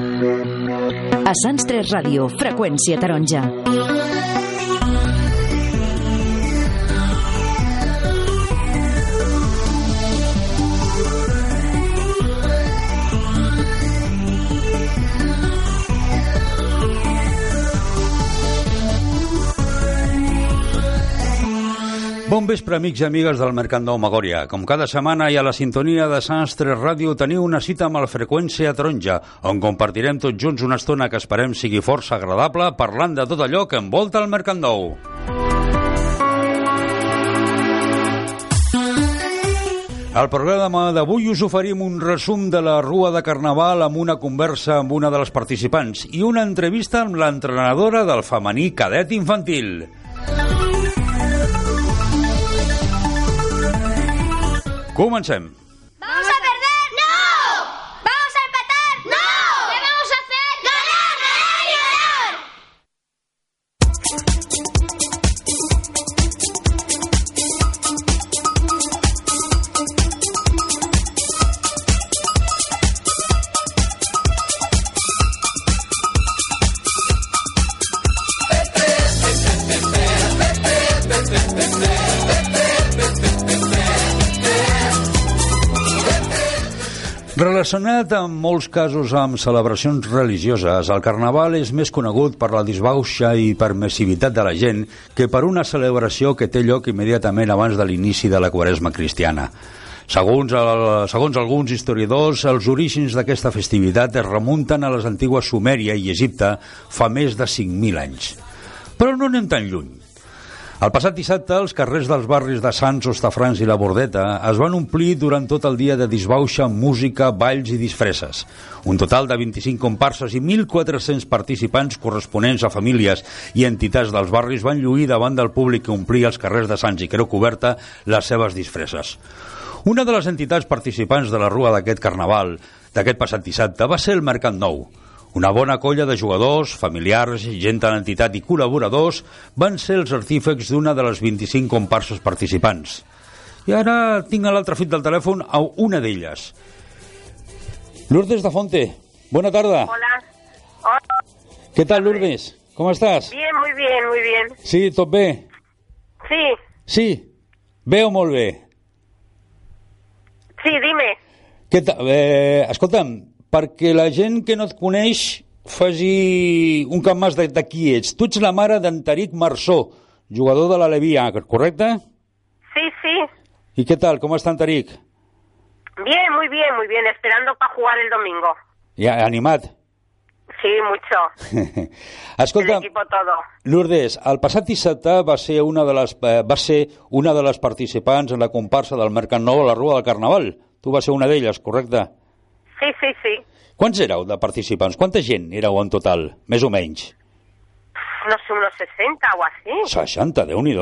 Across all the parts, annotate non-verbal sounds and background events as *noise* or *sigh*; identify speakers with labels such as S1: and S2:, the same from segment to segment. S1: A Sants 3 Ràdio, Freqüència Taronja.
S2: Bon vespre, amics i amigues del Mercat Nou Magòria. Com cada setmana i a la sintonia de Sants 3 Ràdio teniu una cita amb el Freqüència Taronja, on compartirem tots junts una estona que esperem sigui força agradable parlant de tot allò que envolta el Mercat Nou. Al programa d'avui us oferim un resum de la Rua de Carnaval amb una conversa amb una de les participants i una entrevista amb l'entrenadora del femení cadet infantil. Comencem.
S3: ¿Vamos a perder? ¡No! ¿Vamos a empatar? ¡No! ¿Qué vamos a hacer? ¡Ganar, ganar y ganar!
S2: Relacionat en molts casos amb celebracions religioses, el carnaval és més conegut per la disbauxa i permissivitat de la gent que per una celebració que té lloc immediatament abans de l'inici de la quaresma cristiana. Segons, el, segons alguns historiadors, els orígens d'aquesta festivitat es remunten a les antigues Sumèria i Egipte fa més de 5.000 anys. Però no anem tan lluny. El passat dissabte, els carrers dels barris de Sants, Ostafrans i la Bordeta es van omplir durant tot el dia de disbauxa, música, balls i disfresses. Un total de 25 comparses i 1.400 participants corresponents a famílies i entitats dels barris van lluir davant del públic que omplia els carrers de Sants i Creu Coberta les seves disfresses. Una de les entitats participants de la rua d'aquest carnaval, d'aquest passat dissabte, va ser el Mercat Nou. Una bona colla de jugadors, familiars, gent de l'entitat i col·laboradors van ser els artífecs d'una de les 25 comparses participants. I ara tinc a l'altre fit del telèfon a una d'elles. Lourdes de Fonte, bona tarda.
S4: Hola. Hola.
S2: Què tal, Lourdes? Com estàs?
S4: Bien, muy bien, muy bien.
S2: Sí, tot bé?
S4: Sí,
S2: Sí, veu molt bé.
S4: sí, dime.
S2: Què ta... eh, escolta'm, perquè la gent que no et coneix faci un camp més de, de qui ets. Tu ets la mare d'en Tariq Marçó, jugador de la Levia, correcte?
S4: Sí, sí.
S2: I què tal? Com està en Tariq?
S4: Bien, muy bien, muy bien. Esperando para jugar el domingo.
S2: Ja, animat.
S4: Sí, mucho. El
S2: Escolta'm,
S4: equipo todo.
S2: Lourdes, el passat dissabte va ser una de les, eh, va ser una de les participants en la comparsa del Mercat Nou a la Rua del Carnaval. Tu vas ser una d'elles, correcte?
S4: Sí, sí, sí.
S2: Quants éreu de participants? Quanta gent éreu en total, més o menys?
S4: No sé, unos 60 o así.
S2: 60, déu nhi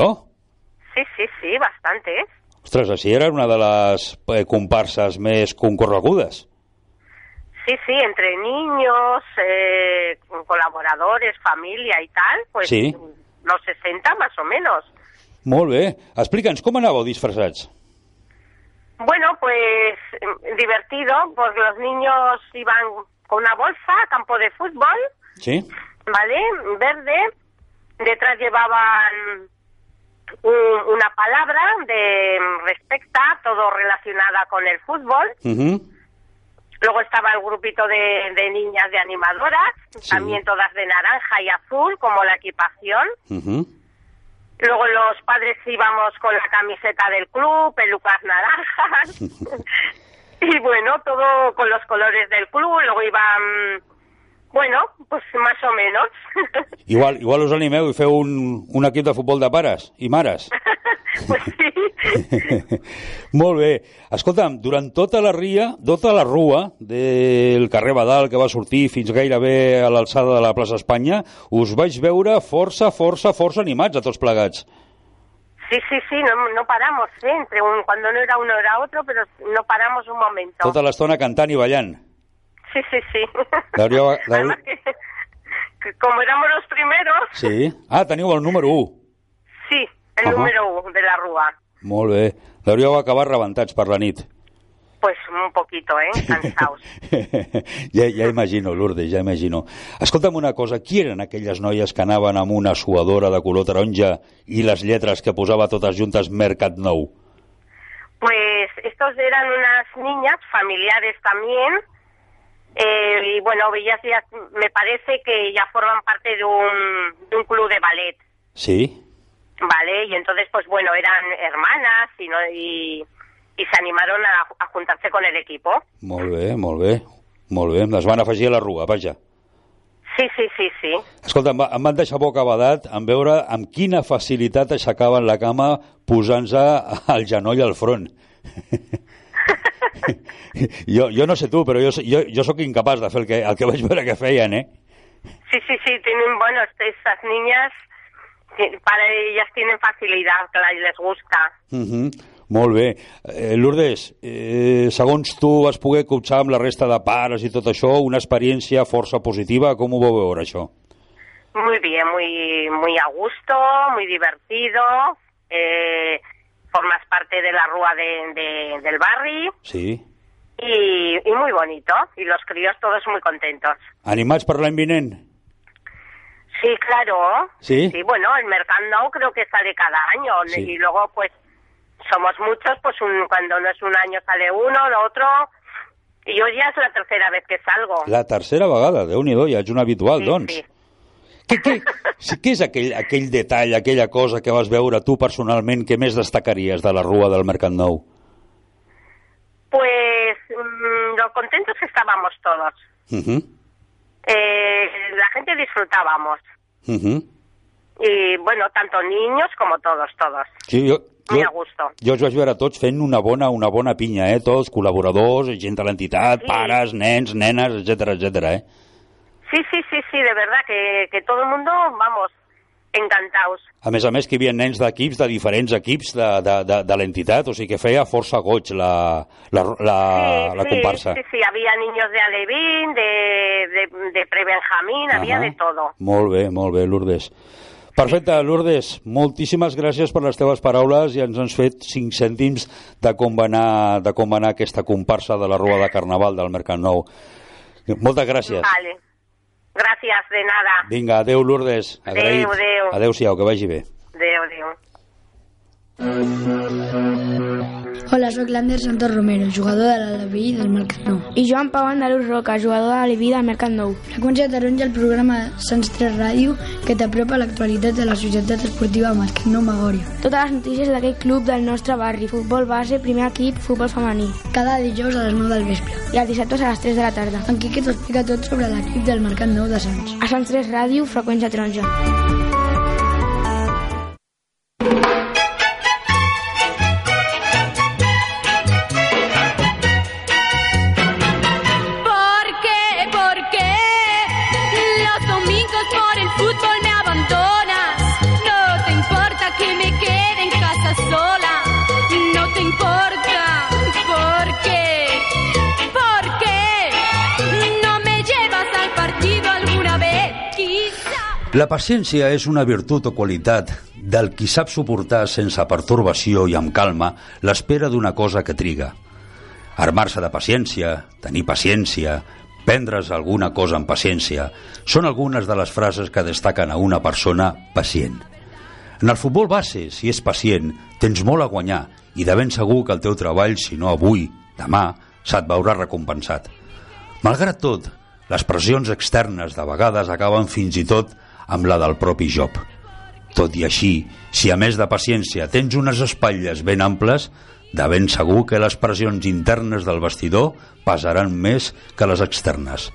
S4: Sí, sí, sí, bastante. ¿eh?
S2: Ostres, així era una de les eh, comparses més concorregudes.
S4: Sí, sí, entre niños, eh, colaboradores, familia y tal, pues
S2: Sí.
S4: los 60 más o menos.
S2: Molt bé. Explica'ns, com anàveu disfressats?
S4: Bueno, pues eh, divertido, porque los niños iban con una bolsa a campo de fútbol.
S2: Sí?
S4: ¿vale? Verde. Detrás llevaban un- una palabra de respecta, todo relacionada con el fútbol.
S2: Uh
S4: Luego estaba el grupito de, de niñas de animadoras,
S2: Sí.
S4: también todas de naranja y azul, como la equipación.
S2: mhm.
S4: Luego los padres íbamos con la camiseta del club, pelucas naranjas. y bueno, todo con los colores del club. Luego iban, bueno, pues más o menos. *laughs*
S2: Igual, igual us animeu i feu un, un equip de futbol de pares i mares. *laughs*
S4: pues sí.
S2: Molt bé. Escolta'm, durant tota la ria, tota la rua del carrer Badal que va sortir fins gairebé a l'alçada de la plaça Espanya, us vaig veure força, força, força animats a tots plegats.
S4: Sí, sí, sí, no, no paramos, ¿eh? Entre un- cuando no era uno era otro, pero no paramos un momento.
S2: Tota l'estona cantant i ballant.
S4: Sí, sí, sí. *laughs*
S2: Darío- Darío-
S4: Además que, que como éramos los primeros,
S2: Sí. Ah, teniu el número 1.
S4: sí, el
S2: Ajá.
S4: número uno de la rúa.
S2: Molt bé. L'hauríeu acabat rebentats per la nit.
S4: Pues un poquito, ¿eh? Cansaos.
S2: *laughs* ja, ja imagino, Lourdes, ja imagino. Escolta'm una cosa, qui eren aquelles noies que anaven amb una suadora de color taronja i les lletres que posava totes juntes Mercat Nou?
S4: Pues estos eran unas niñas familiares también. eh, y bueno, ellas ya, me parece que ya forman parte de un, de un club de ballet,
S2: Sí?
S4: ¿vale? Y entonces, pues bueno, eran hermanas y, no, y, y se animaron a, a juntarse con el equipo.
S2: Molt bé, molt bé. Molt bé, les van afegir a la rua, vaja.
S4: Sí, sí, sí, sí.
S2: Escolta, em va- em van deixar bocabadat en veure amb quina facilitat aixecaven la cama posant-se el genoll al
S4: *laughs*
S2: front. jo, jo no sé tu, però jo, s- jo, jo sóc incapaç de fer el que, el que vaig veure que feien, eh?
S4: Sí, sí, sí, tienen, bueno, est- estas niñas, ti- para ellas tienen facilidad, claro, y les gusta.
S2: Uh -huh. Molt bé. Eh, Lourdes, eh, segons tu vas poder cotxar amb la resta de pares i tot això, una experiència força positiva, com ho vau veure, això?
S4: Muy bien, muy, muy a gusto, muy divertido. eh, formas parte de la rúa de- de- del barrio.
S2: Sí.
S4: y, y muy bonito. Y los críos todos muy contentos.
S2: Animats per l'any vinent?
S4: Sí, claro.
S2: Sí.
S4: bueno, el mercado creo que sale cada año.
S2: Sí.
S4: Y luego, pues, somos muchos, pues un- cuando no es un año sale uno, lo otro. Y yo ya es la tercera vez que salgo.
S2: La tercera vegada, déu nhi ja ets un habitual,
S4: Sí,
S2: doncs.
S4: sí.
S2: Què, què, sí, què és aquell, aquell detall, aquella cosa que vas veure tu personalment que més destacaries de la rua del Mercat Nou?
S4: Pues mm, lo contentos que estábamos todos.
S2: Uh -huh.
S4: Eh, la gente disfrutábamos.
S2: Uh -huh.
S4: Y bueno, tanto niños como todos, todos.
S2: Sí, jo,
S4: Muy
S2: jo,
S4: a gusto.
S2: jo els vaig veure tots fent una bona, una bona pinya, eh? Tots, col·laboradors, gent de l'entitat,
S4: Sí.
S2: pares, nens, nenes, etc etc. eh?
S4: Sí, sí, sí, sí, de verdad que, que todo el mundo, vamos, encantados.
S2: A més a més, que hi havia nens d'equips, de diferents equips de, de, de, de l'entitat, o sigui que feia força goig la, la, la,
S4: sí,
S2: la
S4: sí,
S2: comparsa.
S4: Sí, sí, había niños de Alevín, de, de, de Prebenjamín, había
S2: Ahà.
S4: de todo.
S2: Molt bé, molt bé, Lourdes. Perfecte, Lourdes, moltíssimes gràcies per les teves paraules i ens has fet cinc cèntims de com va anar, de com va anar aquesta comparsa de la Rua de Carnaval del Mercat Nou. Moltes gràcies.
S4: Vale. Gracias, de nada.
S2: Vinga, adeu, Lourdes.
S4: Adéu, adéu.
S2: Adéu-siau, que vagi bé.
S4: Adéu, adéu.
S5: Hola, sóc l'Ander Santos Romero, jugador de l'Aleví del Mercat Nou.
S6: I Joan Pau Andalús Roca, jugador de l'Aliví del Mercat Nou.
S5: Freqüència taronja, el programa Sants 3 Ràdio, que t'apropa a l'actualitat de la societat esportiva Mercat Nou Magòria.
S6: Totes les notícies d'aquell club del nostre barri, futbol base, primer equip, futbol femení.
S5: Cada dijous a les 9 del vespre.
S6: I els dissabtes a les 3 de la tarda.
S5: En Quique t'explica tot sobre l'equip del Mercat Nou de Sants.
S6: A Sants 3 Ràdio, Freqüència Taronja.
S7: ¿Por qué? ¿Por qué? Los domingos por el fútbol me abandonas. No te importa que me quede en casa sola. No te importa. ¿Por qué? ¿Por qué? No me llevas al partido alguna vez. Quizá.
S2: La paciència és una virtut o qualitat del qui sap suportar sense pertorbació i amb calma l'espera d'una cosa que triga. Armar-se de paciència, tenir paciència, prendre's alguna cosa amb paciència, són algunes de les frases que destaquen a una persona pacient. En el futbol base, si és pacient, tens molt a guanyar i de ben segur que el teu treball, si no avui, demà, se't veurà recompensat. Malgrat tot, les pressions externes de vegades acaben fins i tot amb la del propi job. Tot i així, si a més de paciència tens unes espatlles ben amples, de ben segur que les pressions internes del vestidor pesaran més que les externes.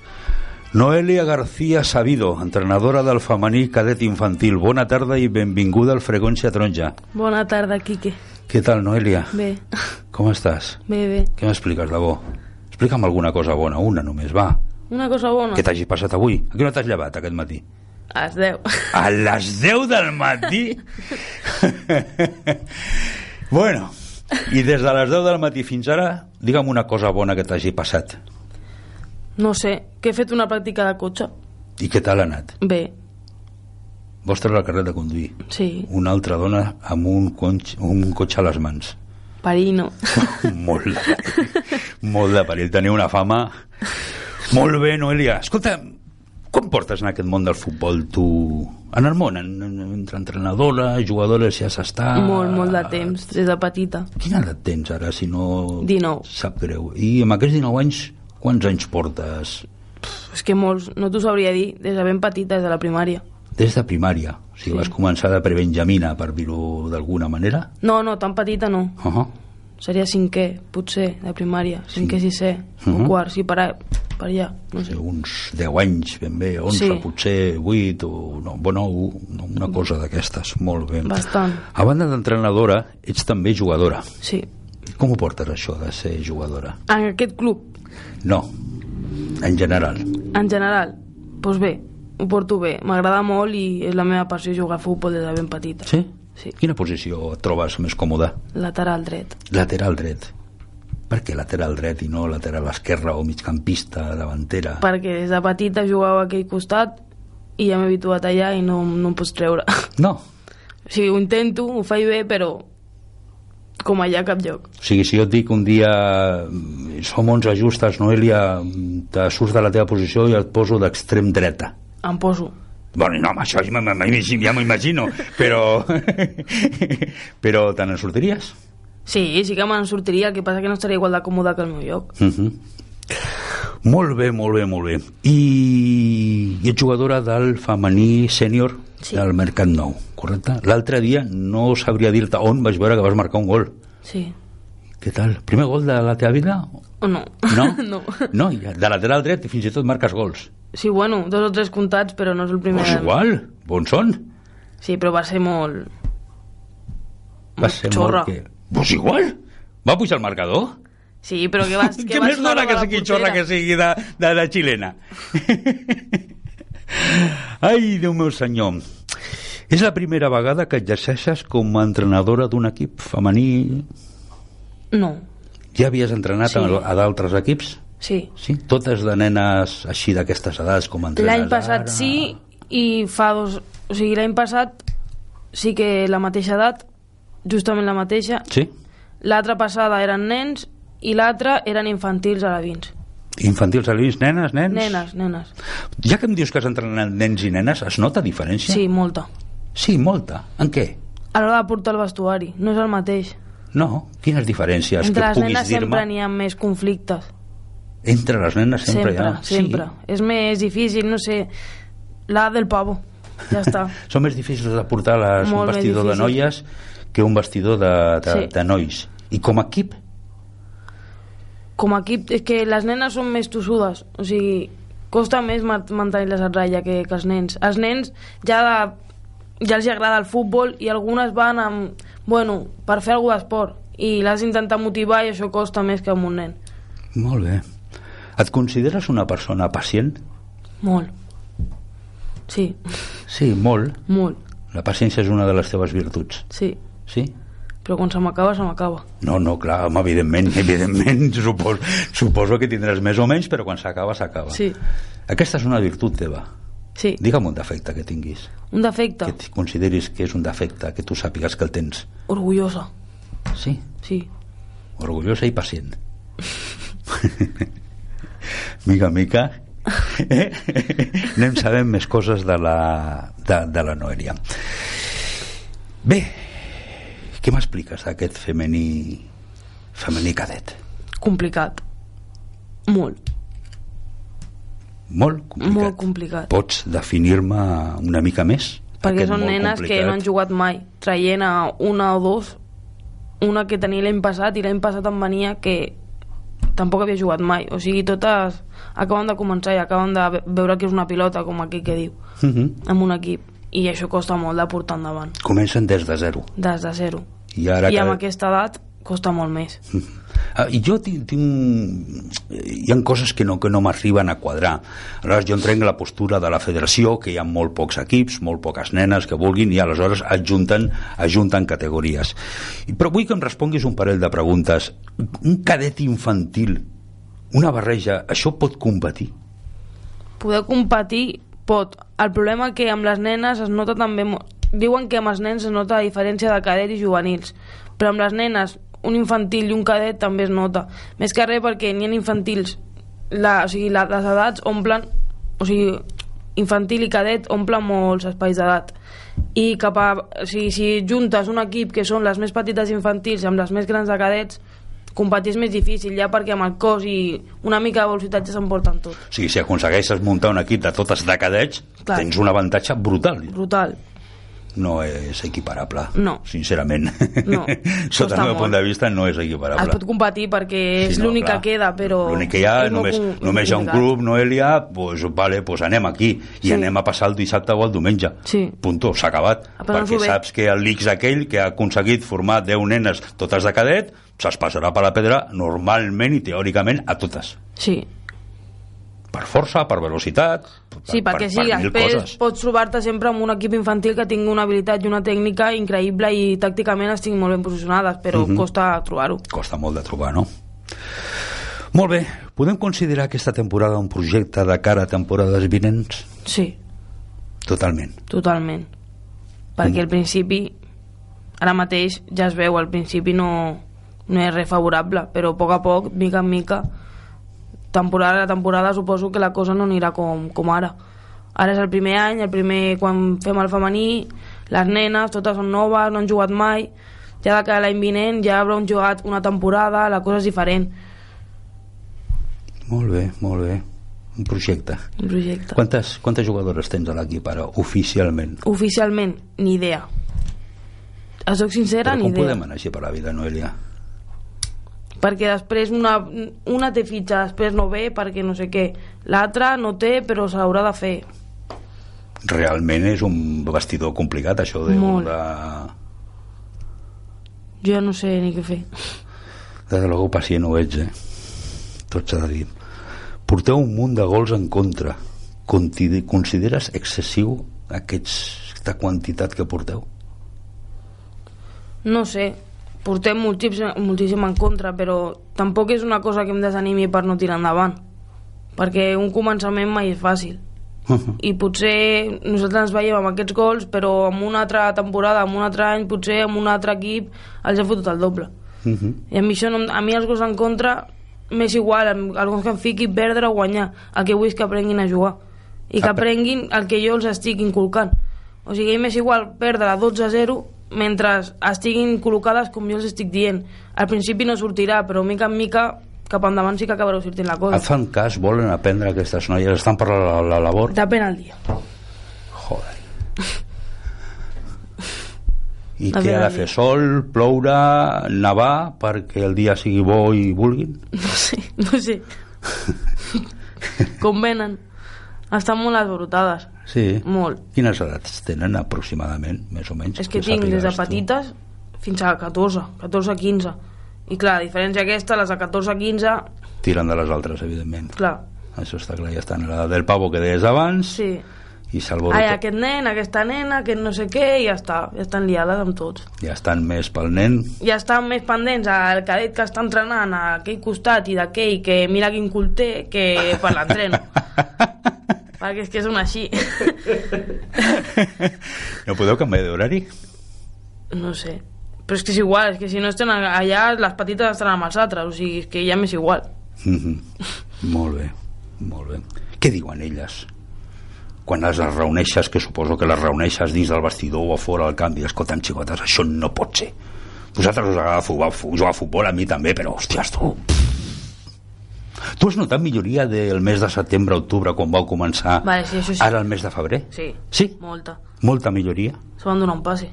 S2: Noelia García Sabido, entrenadora del femení cadet infantil. Bona tarda i benvinguda al Freqüència Taronja.
S8: Bona tarda, Quique.
S2: Què tal, Noelia?
S8: Bé,
S2: Com estàs?
S8: bé, bé.
S2: Què m'expliques de bo? Explica'm alguna cosa bona, una només, va.
S8: Una cosa bona.
S2: Què t'hagi passat avui? A quina hora t'has llevat aquest matí?
S8: A les 10.
S2: A les 10 del matí? *laughs* bueno, i des de les 10 del matí fins ara, digue'm una cosa bona que t'hagi passat.
S8: No sé, que he fet una pràctica de cotxe.
S2: I què tal ha anat?
S8: Bé,
S2: Vostre al carrer de conduir.
S8: sí,
S2: Una altra dona amb un, conx, un cotxe a les mans.
S8: Parino.
S2: molt de, molt de perill. Teniu una fama... Molt bé, Noelia. Escolta, com portes en aquest món del futbol tu? En el món, en, en, entre entrenadora, jugadores ja s'està...
S8: Molt, molt de temps, des de petita.
S2: Quina edat tens ara, si no...
S8: 19.
S2: Sap greu. I amb aquests 19 anys, quants anys portes?
S8: És que molts, no t'ho sabria dir, des de ben petita, des de la primària.
S2: Des de primària. O sigui, sí. vas començar de prebenjamina, per dir-ho d'alguna manera.
S8: No, no, tan petita no.
S2: Uh -huh.
S8: Seria cinquè, potser, de primària. Cinquè, sisè,
S2: Mhm.
S8: o quart, sí, per, a- per allà. No sé.
S2: Uns 10 anys, ben bé, 11, sí.
S8: Sí.
S2: potser 8, o no, bueno, u- una cosa d'aquestes. Molt bé.
S8: Bastant.
S2: A banda d'entrenadora, ets també jugadora.
S8: Sí.
S2: Com ho portes, això de ser jugadora?
S8: En aquest club,
S2: No, en general.
S8: en general, doncs bé, ho porto bé. M'agrada molt i és la meva passió jugar a futbol des de ben petita.
S2: Sí?
S8: Sí.
S2: Quina posició et trobes més còmoda?
S8: Lateral dret.
S2: Lateral dret. Per què lateral dret i no lateral esquerra o migcampista, davantera?
S8: Perquè des de petita jugava a aquell costat i ja m'he habituat allà i no, no em pots treure. *laughs*
S2: No.
S8: o sigui, ho intento, ho faig bé, però com allà a cap lloc.
S2: O sigui, si jo et dic un dia mm, som 11 justes, Noelia, mm, te surts de la teva posició i et poso d'extrem dreta.
S8: Em poso.
S2: Bueno, no, home, això ja m'im- m'im- ja m'ho imagino, però... *laughs* però te n'en sortiries?
S8: Sí, sí que me'n sortiria, el que passa que no estaria igual de còmode que el meu lloc.
S2: Uh -huh. Molt bé, molt bé, molt bé. I, I ets jugadora del femení sènior
S8: Sí.
S2: del Mercat Nou, correcte? L'altre dia no sabria dir-te on vaig veure que vas marcar un gol.
S8: Sí.
S2: Què tal? Primer gol de la teva vida?
S8: O no?
S2: No?
S8: *laughs* no.
S2: No, i de lateral dret fins i tot marques gols.
S8: Sí, bueno, dos o tres comptats, però no és el primer.
S2: Pues igual, bon son.
S8: Sí, però va ser molt...
S2: Va ser
S8: Xorra.
S2: molt que... Pues igual, va pujar el marcador.
S8: Sí, però que
S2: *laughs*
S8: vas...
S2: Què
S8: vas
S2: més dona
S8: jugar
S2: que
S8: a la
S2: sigui
S8: portera?
S2: xorra que sigui de, de la xilena? *laughs* Ai, Déu meu senyor. És la primera vegada que exerceixes com a entrenadora d'un equip femení.
S8: No,
S2: Ja havies entrenat
S8: Sí.
S2: sí. a d'altres equips?
S8: sí.
S2: Sí? Totes de nenes així d'aquestes edats com entrenes
S8: L'any
S2: ara?
S8: passat sí, i fa dos... O sigui, l'any passat sí que la mateixa edat, justament la mateixa.
S2: Sí?
S8: L'altra passada eren nens i l'altra eren infantils a la vins.
S2: Infantils, alins, nenes, nens?
S8: Nenes, nenes.
S2: Ja que em dius que has entrenat nens i nenes, es nota diferència?
S8: Sí, molta.
S2: Sí, molta. En què?
S8: A l'hora de portar el vestuari, no és el mateix.
S2: No, quines diferències
S8: Entre les
S2: que puguis
S8: nenes sempre
S2: dir-me?
S8: n'hi ha més conflictes.
S2: Entre les nenes sempre,
S8: Sempre,
S2: hi ha...
S8: sempre. És més difícil, no sé, la del pavo. Ja està.
S2: Sí. *laughs* Són més difícils de portar les, un
S8: Molt més
S2: vestidor de
S8: difícil.
S2: noies que un vestidor de, de,
S8: Sí.
S2: de nois. I com a equip?
S8: Com a equip, és que les nenes són més tossudes, o sigui, costa més ma- mantenir-les a ratlla que, que els nens. Els nens ja, de, ja els agrada el futbol i algunes van amb, bueno, per fer alguna d'esport i l'has d'intentar motivar i això costa més que amb un nen.
S2: Molt bé. Et consideres una persona pacient?
S8: Molt. Sí,
S2: Sí, molt.
S8: molt,
S2: La paciència és una de les teves virtuts.
S8: sí.
S2: Sí?
S8: Però quan se m'acaba, se m'acaba.
S2: No, no, clar, home, evidentment, *laughs* evidentment, suposo, suposo que tindràs més o menys, però quan s'acaba, s'acaba.
S8: Sí,
S2: Aquesta és una virtut teva.
S8: sí.
S2: Digue'm un defecte que tinguis,
S8: Un defecte.
S2: que et consideris que és un defecte, que tu sàpigues que el tens.
S8: Orgullosa,
S2: Sí,
S8: sí.
S2: orgullosa i pacient. *laughs* mica en mica *laughs* eh? anem sabent més coses de la, de, de la Noelia. Bé, què m'expliques d'aquest femení, femení cadet?
S8: Complicat. Molt.
S2: Molt complicat.
S8: Molt complicat.
S2: Pots definir-me una mica més?
S8: Perquè
S2: Aquest
S8: són
S2: molt
S8: nenes que no han jugat mai, traient a una o dos, una que tenia l'any passat i l'any passat em venia que tampoc havia jugat mai. O sigui, totes acaben de començar i acaben de ve- veure que és una pilota, com aquell que diu,
S2: Mhm.
S8: amb un equip. I això costa molt de portar endavant,
S2: Comencen des de zero.
S8: des de zero.
S2: I ara
S8: I amb
S2: cada-
S8: aquesta edat costa molt més.
S2: Ah, i jo tinc, tinc... Hi ha coses que no, que no m'arriben a quadrar. Aleshores, jo entenc la postura de la federació, que hi ha molt pocs equips, molt poques nenes que vulguin, i aleshores adjunten, adjunten categories. I- Però vull que em responguis un parell de preguntes. Un cadet infantil, una barreja, això pot competir?
S8: Poder competir pot. El problema que amb les nenes es nota també... mo- Diuen que amb els nens es nota la diferència de cadet i juvenils, però amb les nenes un infantil i un cadet també es nota. Més que res perquè n'hi ha infantils, la, o sigui, la, les edats omplen, o sigui, infantil i cadet omplen molts espais d'edat. I cap a, o sigui, si juntes un equip que són les més petites infantils amb les més grans de cadets, competir és més difícil ja perquè amb el cos i una mica de velocitat ja s'emporten tot.
S2: O sigui, si aconsegueixes muntar un equip de totes de cadets,
S8: Clar.
S2: tens un avantatge brutal.
S8: Brutal.
S2: No és equiparable,
S8: No.
S2: sincerament.
S8: No,
S2: *laughs* Sota
S8: costa
S2: el meu
S8: molt.
S2: punt de vista no és
S8: Es
S2: equiparable.
S8: pot competir perquè és
S2: no,
S8: l'únic que
S2: clar.
S8: queda, però...
S2: L'únic que hi ha,
S8: és molt
S2: només,
S8: com-
S2: només hi ha un
S8: complicat.
S2: club, Noelia, doncs, vale, doncs anem aquí i
S8: Sí.
S2: anem a passar el dissabte o el diumenge.
S8: Sí. Ah,
S2: Punto, s'ha acabat.
S8: A passar-s'ho
S2: Perquè
S8: bé.
S2: saps que el l'X aquell que ha aconseguit formar 10 nenes totes de cadet, se'ls passarà per la pedra normalment i teòricament a totes.
S8: Sí,
S2: Per força, per velocitat, per,
S8: sí perquè sí,
S2: per, per mil
S8: després
S2: coses.
S8: pots trobar-te sempre amb un equip infantil que tingui una habilitat i una tècnica increïble i tàcticament estiguin molt ben posicionades, però
S2: Mhm.
S8: costa trobar-ho.
S2: Costa molt de trobar, no? Molt bé, podem considerar aquesta temporada un projecte de cara a temporades vinents?
S8: Sí,
S2: Totalment.
S8: totalment. Perquè al principi, ara mateix ja es veu, al principi no, no és res favorable, però a poc a poc, mica en mica, temporada a temporada suposo que la cosa no anirà com, com ara. Ara és el primer any, el primer quan fem el femení, les nenes, totes són noves, no han jugat mai, ja de cara a l'any vinent ja hauran jugat una temporada, la cosa és diferent,
S2: Molt bé, molt bé. Un projecte.
S8: un projecte. Quan...
S2: Quantes, quantes jugadores tens a l'equip ara, oficialment?
S8: Oficialment, ni idea. Et soc sincera,
S2: Però
S8: ni
S2: com
S8: idea.
S2: podem anar així per la vida, Noelia?
S8: perquè després una, una té fitxa, després no ve perquè no sé què, l'altra no té però s'haurà de fer,
S2: Realment és un vestidor complicat, això de,
S8: Molt.
S2: de...
S8: jo ja no sé ni què fer
S2: de logo pacient ho ets, eh? Tot s'ha de dir. Porteu un munt de gols en contra. Conti- Consideres excessiu aquests, aquesta quantitat que porteu?
S8: no sé, portem moltíssim, moltíssim en contra però tampoc és una cosa que em desanimi per no tirar endavant perquè un començament mai és fàcil i potser nosaltres ens veiem amb aquests gols però amb una altra temporada, amb un altre any potser amb un altre equip els he fotut el doble
S2: Mhm.
S8: I a mi, això no, em- a mi els gols en contra m'és igual, em- el gols que em fiqui, perdre o guanyar. El que vull és que aprenguin a jugar. I que
S2: Ah, per-
S8: aprenguin el que jo els estic inculcant. O sigui, m'és igual perdre 12 a 0 mentre estiguin col·locades com jo els estic dient. Al principi no sortirà, però mica en mica cap endavant sí que acabarà sortint la cosa.
S2: Et fan cas? Volen aprendre aquestes noies? Estan per la, la labor?
S8: Depèn al dia. *laughs*
S2: Joder. I
S8: La
S2: què ha de
S8: veritat.
S2: fer? Sol, ploure, nevar, perquè el dia sigui bo i vulguin?
S8: No sé, no sé. com venen. Estan molt esborotades.
S2: Sí.
S8: Molt.
S2: Quines edats tenen aproximadament, més o menys?
S8: És que
S2: Que
S8: tinc des de
S2: sàpigues tu.
S8: petites fins a 14, 14-15. I clar, la diferència aquesta, les de 14-15,
S2: Tiren de les altres, evidentment.
S8: clar,
S2: Això està clar, ja estan a l'edat del pavo que deies abans
S8: sí.
S2: i s'alborota.
S8: Ai, aquest nen, aquesta nena, aquest no sé què, i ja està, ja estan liades amb tots.
S2: Ja estan més pel nen.
S8: Ja estan més pendents al cadet que està entrenant a aquell costat i d'aquell que mira quin cul té que Eh, per l'entreno. perquè és que són així.
S2: *laughs*
S8: *laughs*
S2: no podeu canviar d'horari?
S8: no sé. Però és que és igual, és que si no estan allà, les petites estan amb els altres, o sigui, és que ja m'és igual.
S2: Mhm. molt bé, molt bé. Què diuen elles? Quan les reuneixes, que suposo que les reuneixes dins del vestidor o a fora al camp, i escolta'm, xicotes, això no pot ser. Vosaltres us agrada jugar, jugar a futbol, a mi també, però, hòsties, tu... pff. Tu has notat milloria del mes de setembre, octubre, quan vau començar,
S8: Vale, sí, això sí.
S2: ara el mes de febrer?
S8: Sí,
S2: Sí?
S8: molta.
S2: Molta milloria?
S8: se van donar un passe.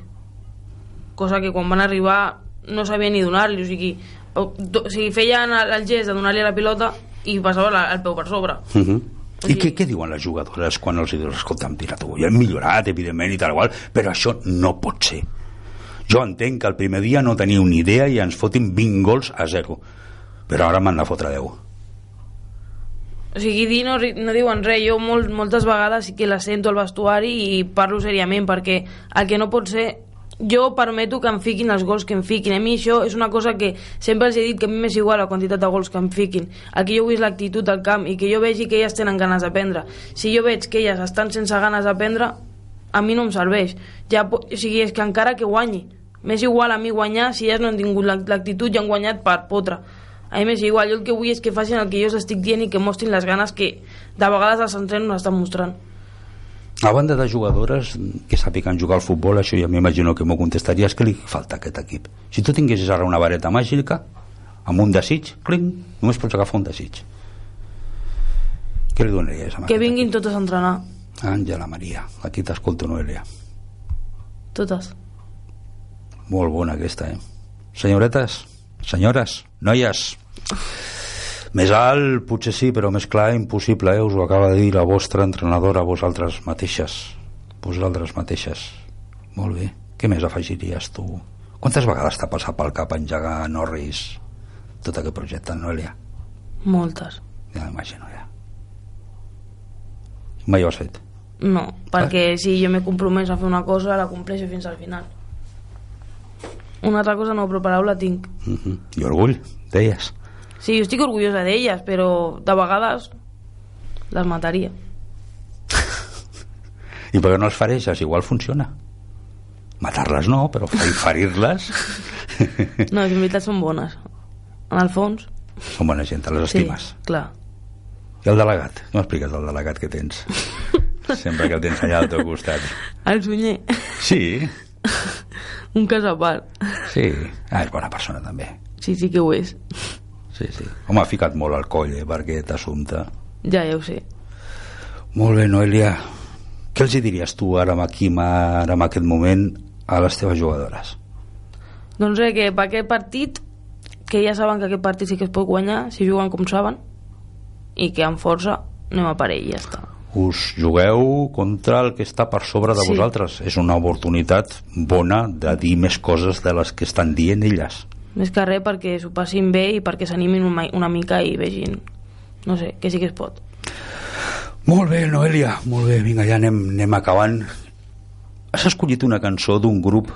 S8: Cosa que quan van arribar no sabia ni donar-li, o sigui, o, do, o sigui feien el, el gest de donar-li la pilota i passava la, el peu per sobre.
S2: Uh -huh. I
S8: Sí.
S2: què, què diuen les jugadores quan els dius, escolta'm, tira tu, ja hem millorat, evidentment, i tal qual, però això no pot ser. Jo entenc que el primer dia no teniu ni idea i ens fotin 20 gols a zero, però ara m'han de fotre 10.
S8: O sigui, dir no, ri- no diuen res, jo molt, moltes vegades sí que la sento al vestuari i parlo seriament, perquè el que no pot ser jo permeto que em fiquin els gols que em fiquin. A mi això és una cosa que sempre els he dit que a mi m'és igual la quantitat de gols que em fiquin. El que jo vull és l'actitud al camp i que jo vegi que elles tenen ganes d'aprendre. Si jo veig que elles estan sense ganes d'aprendre, a mi no em serveix. Ja, po- o sigui, és que encara que guanyi, M'és igual a mi guanyar si ells no han tingut l'ac- l'actitud i han guanyat per potre. A mi m'és igual, jo el que vull és que facin el que jo els estic dient i que mostrin les ganes que de vegades els entrenos estan mostrant.
S2: A banda de jugadores que sàpiguen jugar al futbol, això ja m'imagino que m'ho contestaries, què li falta a aquest equip? Si tu tinguessis ara una vareta màgica, amb un desig, cling, només pots agafar un desig. Què li donaries a
S8: Que vinguin totes a entrenar,
S2: Àngela Maria, aquí t'escolto, Noelia.
S8: totes.
S2: Molt bona aquesta, eh? Senyoretes, senyores, noies, més alt potser sí, però més clar impossible, eh? Us ho acaba de dir la vostra entrenadora, vosaltres mateixes. Vosaltres mateixes. Molt bé. Què més afegiries tu? Quantes vegades t'ha passat pel cap engegar Norris tot aquest projecte, Noelia?
S8: Moltes.
S2: Ja m'imagino, ja. Mai ho has fet.
S8: No, perquè si jo m'he compromès a fer una cosa, la compleixo fins al final. Una altra cosa no, però paraula tinc.
S2: Uh -huh. I orgull, deies.
S8: Sí, jo estic orgullosa d'elles, però de vegades les mataria.
S2: I per què no els fareixes? Igual funciona. Matar-les no, però fer- ferir-les...
S8: No, en veritat són bones. En el fons,
S2: Són bona gent, te les estimes.
S8: sí, clar.
S2: I el delegat? No expliques el delegat que tens. Sempre que el tens allà al teu costat.
S8: El Sunyer,
S2: Sí,
S8: *laughs* un cas a part.
S2: sí. Ah, és bona persona, també.
S8: Sí, sí que ho és.
S2: Sí, sí. Home, ha ficat molt al coll, eh, per aquest assumpte.
S8: Ja, ja ho sé.
S2: Molt bé, Noelia. Què els hi diries tu ara amb aquí, ma- ara en aquest moment, a les teves jugadores?
S8: Doncs res, que per aquest partit, que ja saben que aquest partit sí que es pot guanyar, si juguen com saben, i que amb força anem a per ell, ja està.
S2: us jugueu contra el que està per sobre de
S8: Sí.
S2: vosaltres. És una oportunitat bona de dir més coses de les que estan dient elles.
S8: Més que res perquè s'ho passin bé i perquè s'animin una, una mica i vegin, no sé, que sí que es pot.
S2: Molt bé, Noelia, molt bé, vinga, ja anem, anem acabant. Has escollit una cançó d'un grup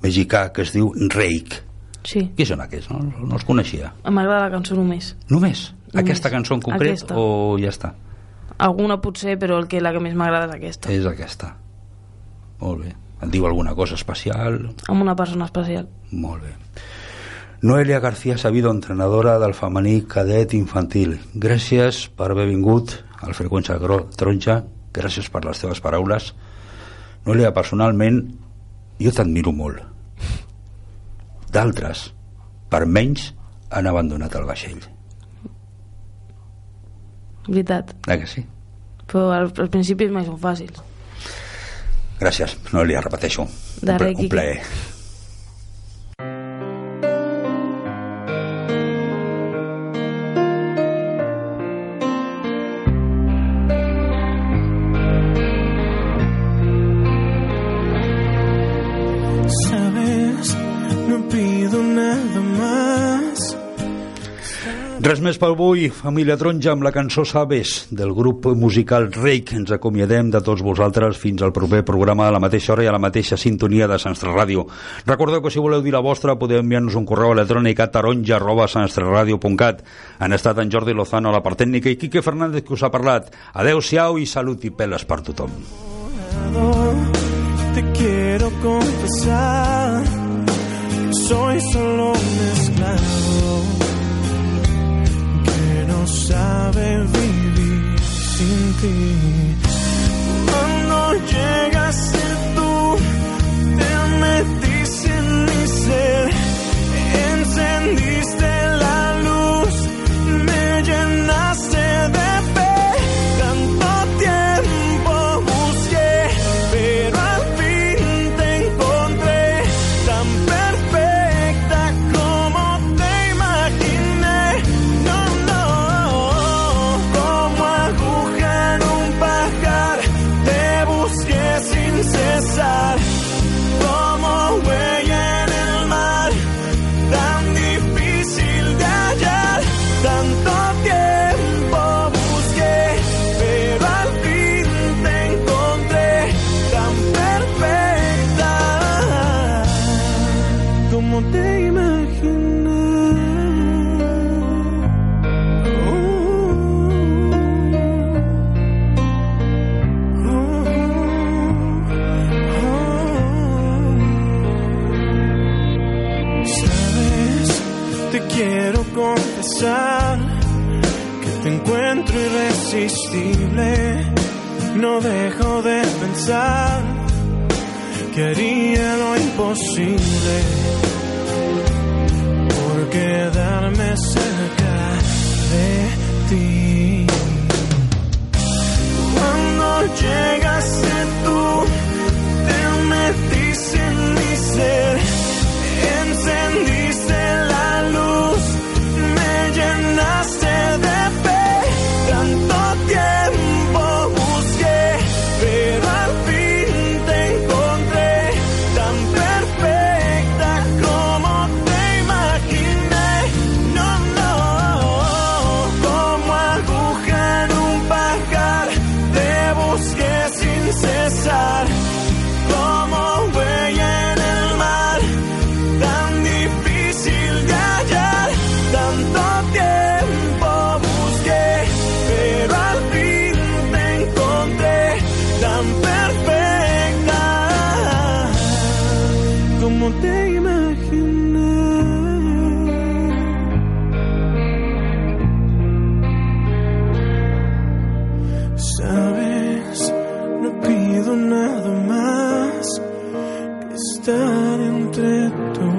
S2: mexicà que es diu Reik.
S8: Sí,
S2: Qui són aquests? No, no els coneixia.
S8: m'agrada la cançó només.
S2: Només?
S8: Només.
S2: Aquesta cançó en concret
S8: Aquesta.
S2: o ja està?
S8: Alguna potser, però el que la que més m'agrada és aquesta.
S2: És aquesta. Molt bé. Et diu alguna cosa especial?
S8: Amb una persona especial.
S2: Molt bé. Noelia García Sabido, entrenadora del femení cadet infantil. Gràcies per haver vingut al Freqüència Gro- Taronja. Gràcies per les teves paraules. Noelia, personalment, jo t'admiro molt. D'altres, per menys, han abandonat el vaixell.
S8: Veritat.
S2: Eh que sí?
S8: Però al- als principis mai són fàcils.
S2: Gràcies, Noelia, repeteixo.
S8: De
S2: un, pla-
S8: res,
S2: un
S8: Quiqui.
S2: plaer.
S9: Sabes, no pido nada más.
S2: Res més per avui, família taronja, amb la cançó Sabes del grup musical Reik. Ens acomiadem de tots vosaltres fins al proper programa a la mateixa hora i a la mateixa sintonia de Sanstre Ràdio. Recordeu que si voleu dir la vostra podeu enviar-nos un correu electrònic a taronja arroba sanstreradio.cat. Han estat en Jordi Lozano a la part tècnica i Quique Fernández que us ha parlat. Adeu-siau i salut i peles per tothom.
S9: Te quiero confesar, que soy solo un esclavo que no sabe vivir sin ti. Cuando llegas a ser tú, te metiste en mi ser, encendiste la luz, me llenaste de fe. Tanto tiempo busqué, pero al fin te encontré, tan perfecta como te imaginé. No, no, como aguja en un pajar, te busqué. sin irresistible. No dejo de pensar que haría lo imposible por quedarme cerca de ti. Cuando llegaste tú, te metiste en mi ser, encendiste la luz, me llenaste de fe. Tanto tiempo busqué, pero al fin te encontré, tan perfecta como te imaginé. No, no, como aguja en un pajar, te busqué sin cesar. Como huella en el mar, tan difícil de hallar. Tanto tiempo busqué, pero al fin te encontré tan perfecta como te imaginé. Sabes, no pido nada más que estar entre tú